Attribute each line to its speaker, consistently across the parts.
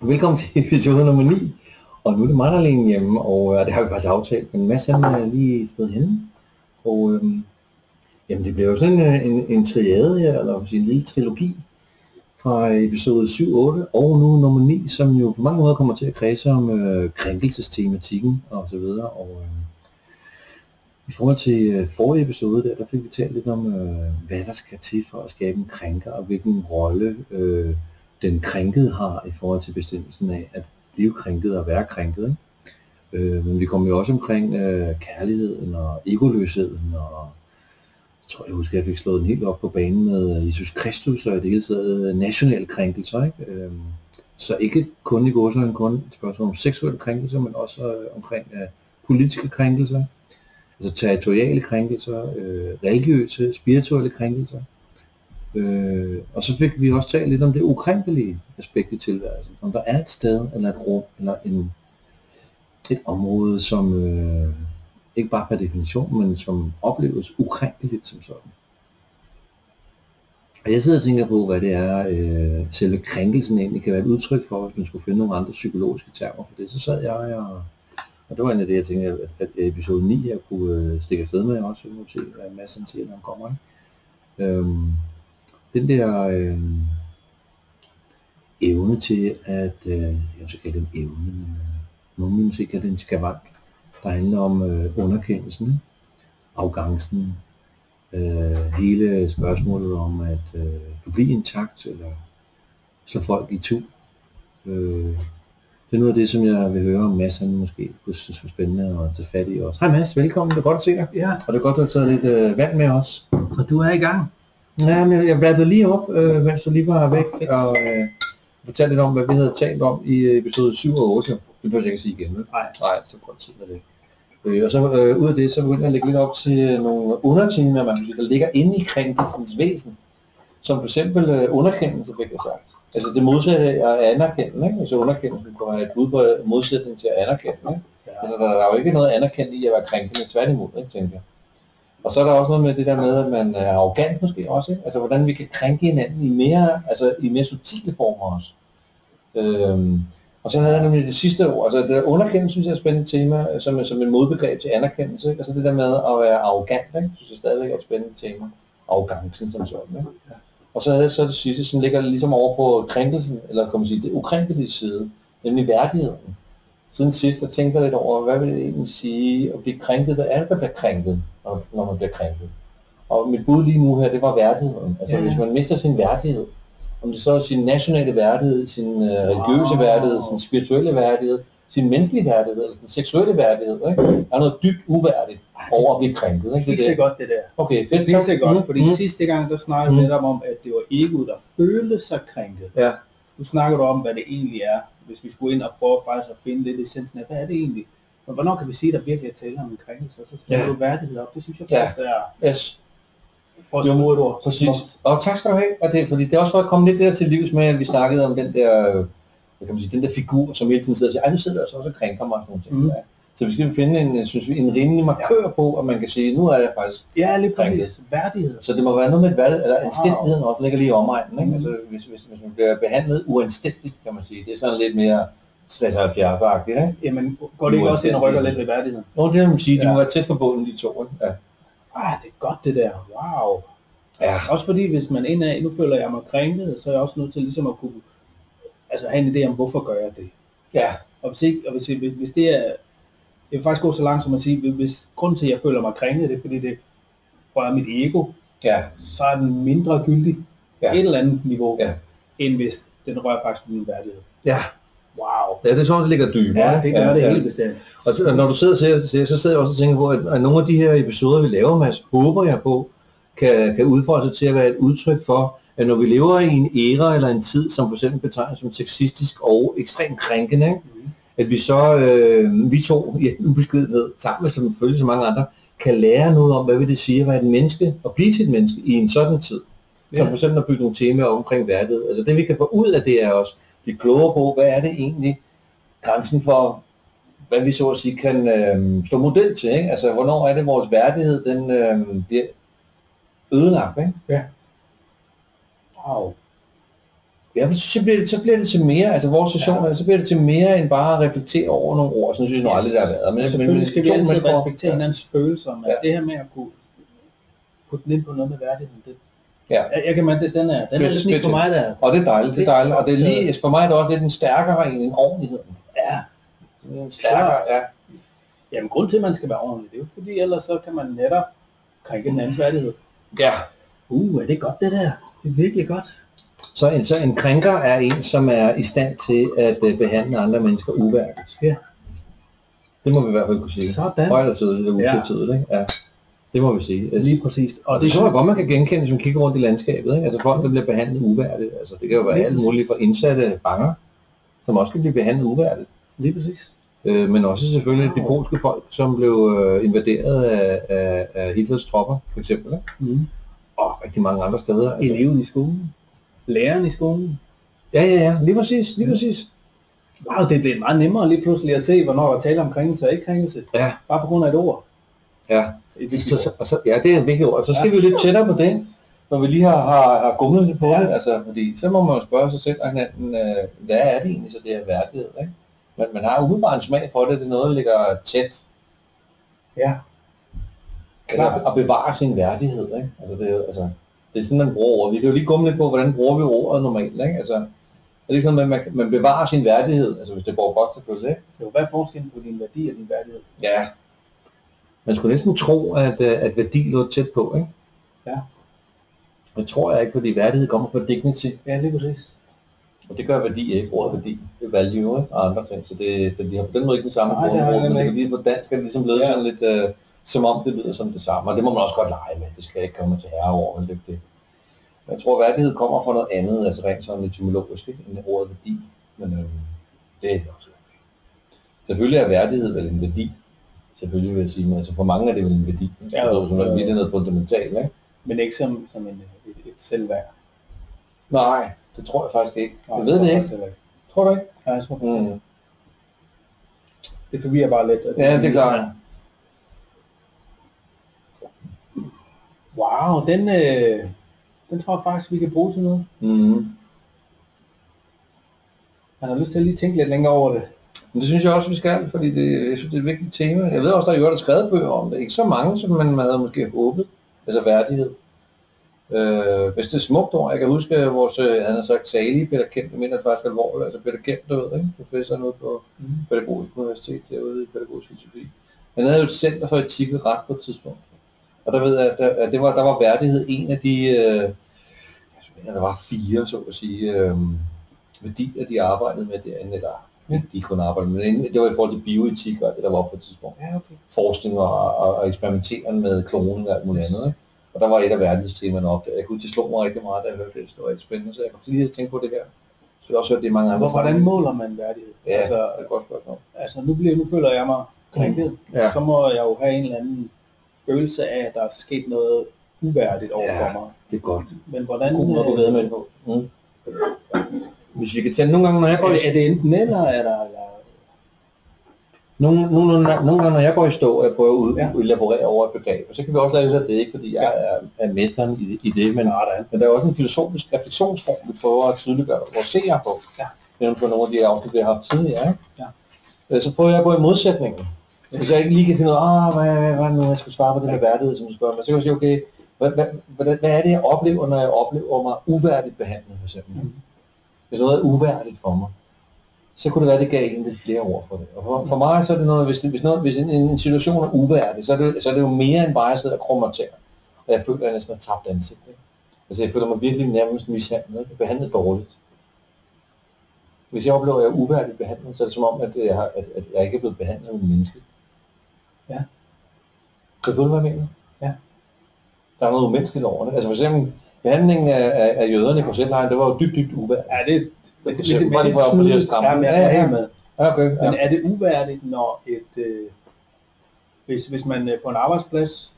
Speaker 1: velkommen til episode nummer 9. Og nu er det mig, der er alene hjemme, og øh, det har vi faktisk aftalt, men Mads han er lige et sted henne. Og øhm, jamen, det bliver jo sådan en, øh, en, en triade her, eller hvad man siger, en lille trilogi fra episode 7, 8 og nu nummer 9, som jo på mange måder kommer til at kredse om øh, krænkelsestematikken og så videre. Og, øh, i forhold til øh, forrige episode, der, der fik vi talt lidt om, øh, hvad der skal til for at skabe en krænker, og hvilken rolle øh, den krænkede har i forhold til bestemmelsen af at blive krænket og være krænket. Ikke? Øh, men vi kom jo også omkring øh, kærligheden og egoløsheden, og jeg tror, jeg husker, jeg fik slået den helt op på banen med øh, Jesus Kristus og i det hele taget øh, nationale krænkelser. Ikke? Øh, så ikke kun i går, så kun et spørgsmål om seksuelle krænkelser, men også øh, omkring øh, politiske krænkelser altså territoriale krænkelser, øh, religiøse, spirituelle krænkelser. Øh, og så fik vi også talt lidt om det ukrænkelige aspekt i tilværelsen. Om der er et sted, eller et rum, eller en, et område, som øh, ikke bare per definition, men som opleves ukrænkeligt som sådan. Og jeg sidder og tænker på, hvad det er, øh, selve krænkelsen egentlig kan være et udtryk for, hvis man skulle finde nogle andre psykologiske termer for det. Så sad jeg og og det var egentlig det, jeg tænkte, at, at episode 9 jeg kunne øh, stikke afsted med også, nu se, hvad Mads han siger, når han kommer. Ikke? Øhm, den der øh, evne til at, øh, jeg vil så kalde det en evne, men øh, nogen vil måske kalde det en skavank, der handler om øh, underkendelsen, ikke? afgangsen, øh, hele spørgsmålet om, at øh, du bliver intakt, eller slår folk i tu. Øh, det er noget af det, som jeg vil høre om Mads, han måske kunne synes var spændende at tage fat i også. Hej Mads, velkommen. Det er godt at se dig.
Speaker 2: Ja,
Speaker 1: Og det er godt, at du har taget lidt øh, vand med os.
Speaker 2: og du er i gang.
Speaker 1: Ja, men jeg, jeg bladrede lige op, øh, mens du lige var væk, og øh, fortalte lidt om, hvad vi havde talt om i øh, episode 7 og 8. Det behøver jeg ikke at sige igen, vel?
Speaker 2: Nej.
Speaker 1: Nej, så kort tid er det. Øh, og så øh, ud af det, så begyndte jeg at lægge lidt op til øh, nogle undertimer, man kan sige, der ligger inde i krænkelsens væsen. Som for eksempel øh, underkendelse, fik jeg sagt. Altså det modsatte af at anerkende, ikke? Altså underkendelse kunne være et bud på øh, modsætning til at anerkende, ikke? Altså, der, der er jo ikke noget anerkendt i at være krænkende, tværtimod, ikke, tænker jeg. Og så er der også noget med det der med, at man er arrogant måske også, ikke? Altså, hvordan vi kan krænke hinanden i mere, altså, i mere subtile former også. Øhm, og så havde jeg nemlig det sidste ord, altså det der underkendelse, synes jeg er et spændende tema, øh, som, som et modbegreb til anerkendelse, ikke? Altså det der med at være arrogant, ikke? synes jeg stadigvæk er et spændende tema. Arrogancen som sådan, ikke? Og så havde jeg så det sidste, som ligger ligesom over på krænkelsen, eller kan man sige, det ukrænkelige side, nemlig værdigheden siden sidst, der tænker jeg lidt over, hvad vil det egentlig sige at blive krænket? Hvad er det, der bliver krænket, når, når man bliver krænket? Og mit bud lige nu her, det var værdigheden. Altså
Speaker 2: Ja.
Speaker 1: hvis man mister sin værdighed, om det så er sin nationale værdighed, sin øh, religiøse
Speaker 2: Wow.
Speaker 1: værdighed, sin spirituelle værdighed, sin menneskelige værdighed, eller sin seksuelle værdighed, ikke? der er noget dybt uværdigt over at blive krænket. Ikke?
Speaker 2: Helt
Speaker 1: Det er det.
Speaker 2: sikkert det der.
Speaker 1: Okay, fedt.
Speaker 2: Helt
Speaker 1: så-
Speaker 2: sikkert,
Speaker 1: Mm,
Speaker 2: fordi
Speaker 1: mm.
Speaker 2: sidste gang, der snakkede
Speaker 1: Mm.
Speaker 2: vi netop om, at det var egoet, der følte sig krænket.
Speaker 1: Ja.
Speaker 2: Nu snakker du om, hvad det egentlig er, hvis vi skulle ind og prøve faktisk at finde lidt essensen af, hvad er det egentlig? Men hvornår kan vi sige, der virkelig er tale om en krænkelse, og så skal
Speaker 1: Ja.
Speaker 2: du værdighed op? Det synes jeg
Speaker 1: Ja.
Speaker 2: faktisk er
Speaker 1: Yes.
Speaker 2: for
Speaker 1: Jo,
Speaker 2: et ord.
Speaker 1: Præcis. Og tak skal du have, og det, fordi det er også for at komme lidt der til livs med, at vi snakkede om den der, øh, hvad kan man sige, den der figur, som hele tiden sidder og siger, ej, nu sidder jeg altså også og krænker mig og sådan nogle ting.
Speaker 2: Mm.
Speaker 1: der. Så vi skal finde en, øh, synes vi, en rimelig markør på, at man kan sige, nu er jeg faktisk,
Speaker 2: Ja, lige præcis.
Speaker 1: Krænket.
Speaker 2: Værdighed.
Speaker 1: så det må være noget med et valg, eller
Speaker 2: Wow.
Speaker 1: anstændigheden også ligger lige i omegnen, ikke?
Speaker 2: Mm.
Speaker 1: Altså, hvis, hvis, hvis man bliver behandlet uanstændigt, kan man sige, det er sådan lidt mere 76-agtigt, ikke?
Speaker 2: Jamen, går det ikke også ind og rykker lidt ved værdigheden?
Speaker 1: Nå, det kan man sige, de
Speaker 2: Ja.
Speaker 1: må være tæt forbundet, de to, ikke? Ja.
Speaker 2: Ah, det er godt det der. Wow.
Speaker 1: ja.
Speaker 2: Også fordi, hvis man indad, nu føler jeg mig krænket, så er jeg også nødt til ligesom at kunne altså, have en idé om, hvorfor gør jeg det.
Speaker 1: Ja,
Speaker 2: Og hvis, ikke, og hvis, hvis, hvis det er, jeg vil faktisk gå så langt som at sige, hvis, hvis grunden til, at jeg føler mig krænket, det er fordi, det rører mit ego,
Speaker 1: ja,
Speaker 2: så er den mindre gyldig
Speaker 1: Ja.
Speaker 2: ja. et eller andet niveau,
Speaker 1: Ja.
Speaker 2: end hvis den rører faktisk min værdighed.
Speaker 1: ja.
Speaker 2: Wow.
Speaker 1: Ja, det tror jeg, det ligger dybere.
Speaker 2: Ja, det gør
Speaker 1: ja,
Speaker 2: det
Speaker 1: ja.
Speaker 2: helt bestemt.
Speaker 1: Og så- og når du sidder og ser, ser, så sidder jeg også og tænker på, at, at nogle af de her episoder, vi laver, Mads, håber jeg på, kan, kan udfolde sig til at være et udtryk for, at når vi lever i en æra eller en tid, som for eksempel betegnes som sexistisk og ekstremt krænkende, ikke?
Speaker 2: Mhm.
Speaker 1: at vi så, øh, vi to i al ubeskedenhed, sammen med som følge så mange andre, kan lære noget om, hvad vil det sige at være et menneske, og blive til et menneske i en sådan tid. Ja. Som
Speaker 2: Ja.
Speaker 1: for eksempel at bygge nogle temaer omkring værdighed. Altså det vi kan få ud af det er også, blive klogere på, hvad er det egentlig grænsen for, hvad vi så at sige kan øh, stå model til. Ikke? Altså hvornår er det vores værdighed, den øh, bliver ødelagt. Ikke?
Speaker 2: Wow.
Speaker 1: Ja, men så bliver, det, så bliver det til mere, altså vores session, ja. så bliver det til mere end bare at reflektere over nogle ord. Sådan synes jeg nu aldrig, det har været. Men,
Speaker 2: Men selvfølgelig skal vi altid respektere hinandens følelser, men ja. det her med at kunne putte den ind på noget med værdigheden, det,
Speaker 1: Ja.
Speaker 2: jeg, jeg kan mærke, det- den er, den er
Speaker 1: Fedt,
Speaker 2: lidt ny
Speaker 1: fedt.
Speaker 2: for mig, der.
Speaker 1: Og det er dejligt, det er dejligt. Og det er lige, for mig er det også lidt en stærkere en end ordentligheden.
Speaker 2: Ja, det er en stærkere.
Speaker 1: ja.
Speaker 2: Jamen, grund til, at man skal være ordentlig, det er jo fordi, ellers så kan man netop krænke den
Speaker 1: Mm.
Speaker 2: andens værdighed.
Speaker 1: Ja.
Speaker 2: Uh, er det godt, det der? Det er virkelig godt.
Speaker 1: Så en, så en krænker er en, som er i stand til at øh, behandle andre mennesker uværdigt.
Speaker 2: Ja.
Speaker 1: Det må vi i hvert fald kunne sige.
Speaker 2: Sådan.
Speaker 1: Højt og tydeligt og
Speaker 2: Ja.
Speaker 1: utvetydigt, ikke? Ja. Det må vi sige. Altså,
Speaker 2: Lige præcis.
Speaker 1: Og det tror jeg godt, man kan genkende, hvis man kigger rundt i landskabet. Ikke? Altså folk, der bliver behandlet uværdigt. Altså, det kan jo være
Speaker 2: Lige
Speaker 1: alt
Speaker 2: præcis.
Speaker 1: muligt for indsatte banger, som også kan blive behandlet uværdigt.
Speaker 2: Lige præcis.
Speaker 1: Øh, men også selvfølgelig de
Speaker 2: Wow.
Speaker 1: polske folk, som blev øh, invaderet af, af, af Hitlers tropper, for eksempel. Ikke?
Speaker 2: Mm.
Speaker 1: Og rigtig mange andre steder. Altså.
Speaker 2: Eleven i skolen. Læreren i skolen.
Speaker 1: Ja, ja, ja. Lige præcis. Lige
Speaker 2: Ja.
Speaker 1: præcis.
Speaker 2: Wow, det blev meget nemmere lige pludselig at se, hvornår der er tale om krænkelse og ikke krænkelse.
Speaker 1: Ja,
Speaker 2: Bare på grund af et ord.
Speaker 1: ja.
Speaker 2: Et vigtigt
Speaker 1: Så,
Speaker 2: ord.
Speaker 1: så, og så, ja, det er et vigtigt ord. Så skal
Speaker 2: Ja.
Speaker 1: ja. vi jo lidt tættere på det, når vi lige har, har, har gumlet lidt på det. Altså, fordi så må man jo spørge sig selv og hinanden, øh, hvad er det egentlig så det her værdighed? Ikke? Men man har umiddelbart en smag for det. Det er noget, der ligger tæt.
Speaker 2: Ja.
Speaker 1: Altså, at bevare sin værdighed. Ikke? Altså, det, er jo- altså, det er sådan, man bruger ordet. Vi kan jo lige gumle lidt på, hvordan bruger vi ordet normalt. Ikke? Altså, er det ikke sådan, at man, man bevarer sin værdighed, altså hvis det går godt selvfølgelig. Ikke?
Speaker 2: Jo, hvad er forskellen på din værdi og din værdighed?
Speaker 1: Ja. Man skulle næsten tro, at, øh, at værdi lå tæt på, ikke?
Speaker 2: Ja.
Speaker 1: Det tror jeg ikke, fordi værdighed kommer fra dignity,
Speaker 2: Ja, lige præcis.
Speaker 1: og det gør værdi ikke, ordet værdi. Det er value ikke? og andre ting, så, det, så de har på den måde ikke den samme
Speaker 2: Nej, det har
Speaker 1: grundord,
Speaker 2: jeg
Speaker 1: men det
Speaker 2: nemlig
Speaker 1: kan lige på dansk er det ligesom blevet
Speaker 2: Ja.
Speaker 1: ja. sådan lidt, øh, som om det lyder som det samme, og det må man også godt lege med, det skal jeg ikke komme til herre over, men det, det. Jeg tror, værdighed kommer fra noget andet, altså rent sådan etymologisk, ikke? end ordet værdi, men øh, det er også okay. Selvfølgelig er værdighed vel en værdi, selvfølgelig vil jeg sige, men altså for mange er det vel en værdi, ikke?
Speaker 2: Ja,
Speaker 1: ja,
Speaker 2: jo.
Speaker 1: det er virkelig noget fundamentalt, ikke?
Speaker 2: Men ikke som, som en, et, et selvværd.
Speaker 1: Nej, det tror jeg faktisk ikke.
Speaker 2: Nej,
Speaker 1: Jeg ved det
Speaker 2: tror
Speaker 1: ikke.
Speaker 2: Selvværd.
Speaker 1: Tror du ikke?
Speaker 2: Nej, jeg tror, mm.
Speaker 1: Mm.
Speaker 2: Det forvirrer bare lidt. at-
Speaker 1: Ja, det er klart.
Speaker 2: Wow, den, øh, den tror jeg faktisk, vi kan bruge til noget.
Speaker 1: Mm.
Speaker 2: Man har lyst til at lige tænke lidt længere over det.
Speaker 1: Men det synes jeg også, vi skal, fordi det, jeg synes, det er et vigtigt tema. Jeg ved også, der er jo der er skrevet bøger om det. Ikke så mange, som man havde måske håbet. Altså værdighed. Øh, hvis det er et smukt ord, jeg kan huske, at vores, øh, han har sagt, salige Peter Kent, jeg mener det faktisk alvorligt, altså Peter Kent, du ved, ikke? professor ude på
Speaker 2: Mm.
Speaker 1: Pædagogisk Universitet, derude i pædagogisk filosofi. Han havde jo et center for etik og ret på et tidspunkt. Og der ved jeg, at der, at det var, der var værdighed en af de, øh, jeg mener, der var fire, så at sige, øh, værdier, de arbejdede med derinde, eller ikke de kunne arbejde med, men det var i forhold til bioetik og det, der var på et tidspunkt.
Speaker 2: Ja, okay.
Speaker 1: Forskning og, og, og eksperimenteren med kloning og alt muligt andet. Ikke? Og der var et af verdenstemaerne op der. Jeg kunne huske, det slog mig rigtig meget, da jeg hørte det. Det var rigtig spændende, så jeg kom til lige at tænke på det her. Så jeg har også hørt det i mange andre
Speaker 2: Hvor, hvordan
Speaker 1: sammenhænge.
Speaker 2: måler man værdighed?
Speaker 1: Ja,
Speaker 2: Altså,
Speaker 1: det er et godt spørgsmål.
Speaker 2: altså nu, bliver, nu føler jeg mig krænket.
Speaker 1: Mm. Ja.
Speaker 2: Så må jeg jo have en eller anden følelse af, at der er sket noget uværdigt over
Speaker 1: Ja.
Speaker 2: for mig.
Speaker 1: Det er godt.
Speaker 2: Men hvordan... øh,
Speaker 1: God måde at gå videre med det på. Mm. Hvis vi kan tage nogle gange, når jeg går
Speaker 2: er,
Speaker 1: i
Speaker 2: er det enten eller, er der... Eller,
Speaker 1: Nogle, nogle, nogle, nogle gange, når jeg går i stå, og jeg prøver at ud,
Speaker 2: Ja.
Speaker 1: ja. elaborere over et begreb, og så kan vi også lade det, det ikke, fordi jeg er, er mesteren i, det- i det, men, men der er også en filosofisk refleksionsform, vi prøver at tydeliggøre vores seere på,
Speaker 2: Ja.
Speaker 1: mellem på nogle af de afsnit, vi har haft tidligere. ikke?
Speaker 2: Ja.
Speaker 1: Øh, Så prøver jeg at gå i modsætningen. Hvis jeg ikke lige kan finde ud af, ah, hvad, hvad, hvad er det nu, jeg skal svare på det med værdighed, som du spørger mig, så kan jeg sige, okay, hvad, hvad, hvad, hvad er det, jeg oplever, når jeg oplever mig uværdigt behandlet, for eksempel?
Speaker 2: Mhm.
Speaker 1: Hvis noget er uværdigt for mig, så kunne det være, at det gav en lidt flere ord for det. Og for, for mig så er det noget, hvis, det, hvis, noget, hvis en, en situation er uværdig, så er, det, så er det jo mere end bare, at jeg sidder og krummer til. Og jeg føler, at jeg næsten har tabt ansigt. Ikke? Altså, jeg føler mig virkelig nærmest mishandlet, ikke? behandlet dårligt. Hvis jeg oplever, at jeg er uværdigt behandlet, så er det som om, at jeg, har, at, at jeg ikke er blevet behandlet som en menneske.
Speaker 2: Ja.
Speaker 1: Kan du følge, hvad jeg mener?
Speaker 2: Ja.
Speaker 1: Der er noget umenneskeligt over det. Altså for eksempel, behandlingen af, af, af jøderne i Korsetlejren, det var jo dybt, dybt uværdigt.
Speaker 2: er det...
Speaker 1: Det kunne se- bare lige for at- for lige at stramme.
Speaker 2: Ja, men jeg
Speaker 1: Ja, ja,
Speaker 2: er
Speaker 1: ja.
Speaker 2: helt med.
Speaker 1: Ja, okay. Ja.
Speaker 2: Men er det uværdigt, når et... Øh, hvis, hvis man øh, på en arbejdsplads,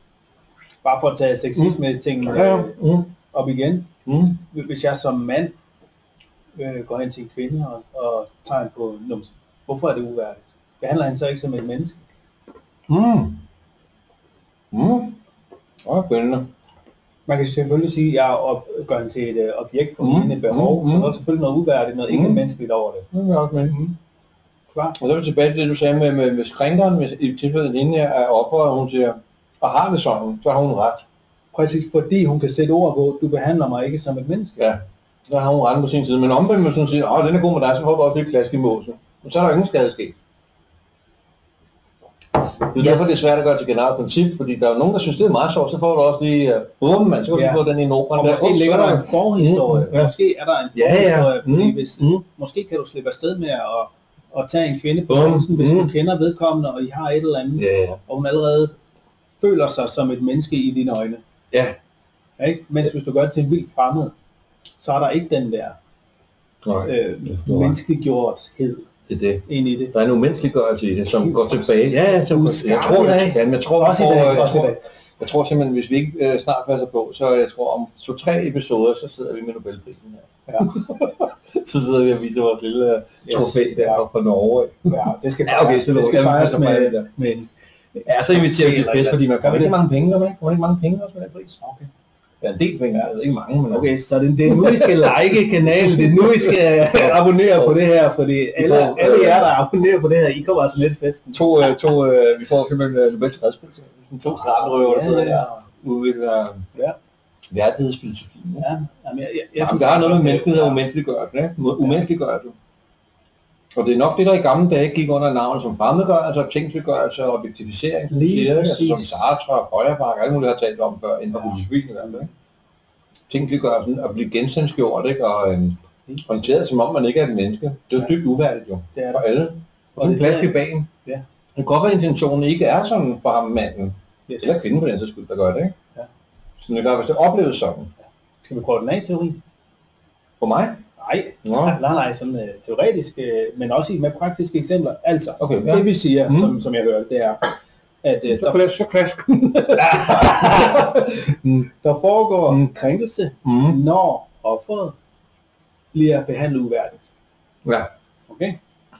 Speaker 2: bare for at tage sexisme-ting
Speaker 1: Ja, ja.
Speaker 2: øh,
Speaker 1: Mm.
Speaker 2: op igen,
Speaker 1: Mm.
Speaker 2: hvis jeg som mand øh, går hen til en kvinde og, og tager hende på numse, hvorfor er det uværdigt? Behandler han så ikke som et menneske?
Speaker 1: Mm. Mm. Åh, spændende.
Speaker 2: Man kan selvfølgelig sige, at jeg er op, gør han til et øh, objekt for
Speaker 1: Mm,
Speaker 2: mine behov,
Speaker 1: mm,
Speaker 2: så
Speaker 1: mm.
Speaker 2: der er selvfølgelig noget uværdigt, noget
Speaker 1: Mm.
Speaker 2: ikke menneskeligt over det.
Speaker 1: Det er nok med. Mm.
Speaker 2: Klart.
Speaker 1: Og så er vi tilbage til det, du sagde med, med, med skrænkeren, hvis i tilfældet hende her er offeret, og hun siger, og har det sådan, så har hun ret.
Speaker 2: Præcis fordi hun kan sætte ord på, du behandler mig ikke som et menneske.
Speaker 1: Ja, så har hun ret på sin side. Men omvendt må sådan sige, åh, den er god med dig, så hopper jeg op lidt klask i måsen. Men så er der ingen skade sket. Det er
Speaker 2: Yes.
Speaker 1: yes. derfor, det er svært at gøre til generelt princip, fordi der er jo nogen, der synes, det er meget sjovt, så får du også lige, øh, åben mand, så kan du
Speaker 2: Ja.
Speaker 1: lige få den i en opera.
Speaker 2: Og måske ligger der en forhistorie.
Speaker 1: Mm, ja.
Speaker 2: Måske er der en
Speaker 1: Ja, ja.
Speaker 2: forhistorie, fordi
Speaker 1: Mm,
Speaker 2: hvis,
Speaker 1: mm.
Speaker 2: måske kan du slippe afsted med at, at tage en kvinde på
Speaker 1: Mm,
Speaker 2: hånden, hvis du
Speaker 1: mm.
Speaker 2: kender vedkommende, og I har et eller andet,
Speaker 1: Ja, ja.
Speaker 2: og hun allerede føler sig som et menneske i dine øjne.
Speaker 1: ja.
Speaker 2: Ja, Ikke? Mens hvis du gør det til en vild fremmed, så er der ikke den der
Speaker 1: Nej,
Speaker 2: øh,
Speaker 1: det er
Speaker 2: menneskeliggjorthed
Speaker 1: det er det.
Speaker 2: ind i det.
Speaker 1: Der er en umenneskeliggørelse i det, som går tilbage.
Speaker 2: Ja, ja, som-
Speaker 1: jeg tror,
Speaker 2: Ja,
Speaker 1: jeg, ja, men jeg tror,
Speaker 2: Også i dag,
Speaker 1: jeg, tror, jeg,
Speaker 2: også i
Speaker 1: tror,
Speaker 2: dag.
Speaker 1: jeg tror simpelthen, hvis vi ikke øh, snart passer på, så jeg tror om så tre episoder, så sidder vi med Nobelprisen her.
Speaker 2: Ja.
Speaker 1: så sidder vi og viser vores lille yes.
Speaker 2: Yes.
Speaker 1: trofæ der fra Norge.
Speaker 2: Ja, det skal
Speaker 1: Ja, okay,
Speaker 2: fejres-
Speaker 1: så
Speaker 2: det
Speaker 1: lå-
Speaker 2: skal
Speaker 1: jamen,
Speaker 2: fejres
Speaker 1: altså, fejrer
Speaker 2: med,
Speaker 1: vi det.
Speaker 2: med,
Speaker 1: Ja, så inviterer vi til fest, fordi man
Speaker 2: Gør
Speaker 1: kommer
Speaker 2: vi
Speaker 1: ikke
Speaker 2: det?
Speaker 1: mange penge, gør man ikke? Kommer ikke mange penge også med den pris?
Speaker 2: Okay.
Speaker 1: Ja, en del penge, altså ikke mange, men
Speaker 2: Okay, så det, det er nu, I skal like kanalen, det er nu, I skal abonnere på det her, fordi øh, alle,
Speaker 1: øh,
Speaker 2: alle jer, der abonnerer på det her, I kommer altså med til festen.
Speaker 1: To, øh, to, øh, vi får simpelthen øh, Nobels fredspris. Sådan to straffrøver, der sidder der og udvikler
Speaker 2: Ja.
Speaker 1: værdighedsfilosofien. ikke?
Speaker 2: Ja, jamen, jeg, jeg, jeg
Speaker 1: Jamen,
Speaker 2: synes
Speaker 1: der er
Speaker 2: også,
Speaker 1: noget med
Speaker 2: at-
Speaker 1: mennesket, der umenneskeliggør det, ikke? Umenneskeliggør det. Og det er nok det, der i gamle dage gik under navnet som fremmedgørelse, og tænkeliggørelse og objektivisering, som, du
Speaker 2: Lige
Speaker 1: siger, ikke? Altså,
Speaker 2: præcis.
Speaker 1: som Sartre og Feuerbach, alle mulige har talt om før, inden for
Speaker 2: Ja.
Speaker 1: filosofien i hvert fald. ikke? Tænkeliggørelsen at blive genstandsgjort ikke? og øhm, håndteret, som om man ikke er et menneske. Det er jo
Speaker 2: Ja.
Speaker 1: dybt uværdigt jo,
Speaker 2: Det er
Speaker 1: for
Speaker 2: der.
Speaker 1: alle. Og sådan en
Speaker 2: det er-
Speaker 1: plads i bagen.
Speaker 2: Ja.
Speaker 1: Det kan godt være, at intentionen ikke er sådan for ham manden,
Speaker 2: Yes.
Speaker 1: eller kvinden på den sags skyld, der gør det, ikke?
Speaker 2: Ja.
Speaker 1: Men det gør, hvis det opleves sådan.
Speaker 2: Skal vi koordinatteori?
Speaker 1: For mig?
Speaker 2: Nej,
Speaker 1: Nå.
Speaker 2: nej, nej, sådan øh, teoretisk, øh, men også i med praktiske eksempler. Altså,
Speaker 1: Okay, ja.
Speaker 2: det vi siger,
Speaker 1: Mm.
Speaker 2: som, som jeg hørte, det er, at øh,
Speaker 1: Så
Speaker 2: der,
Speaker 1: klask, så klask.
Speaker 2: der foregår
Speaker 1: Mm.
Speaker 2: krænkelse,
Speaker 1: Mm.
Speaker 2: når offeret bliver behandlet uværdigt.
Speaker 1: Ja.
Speaker 2: Okay?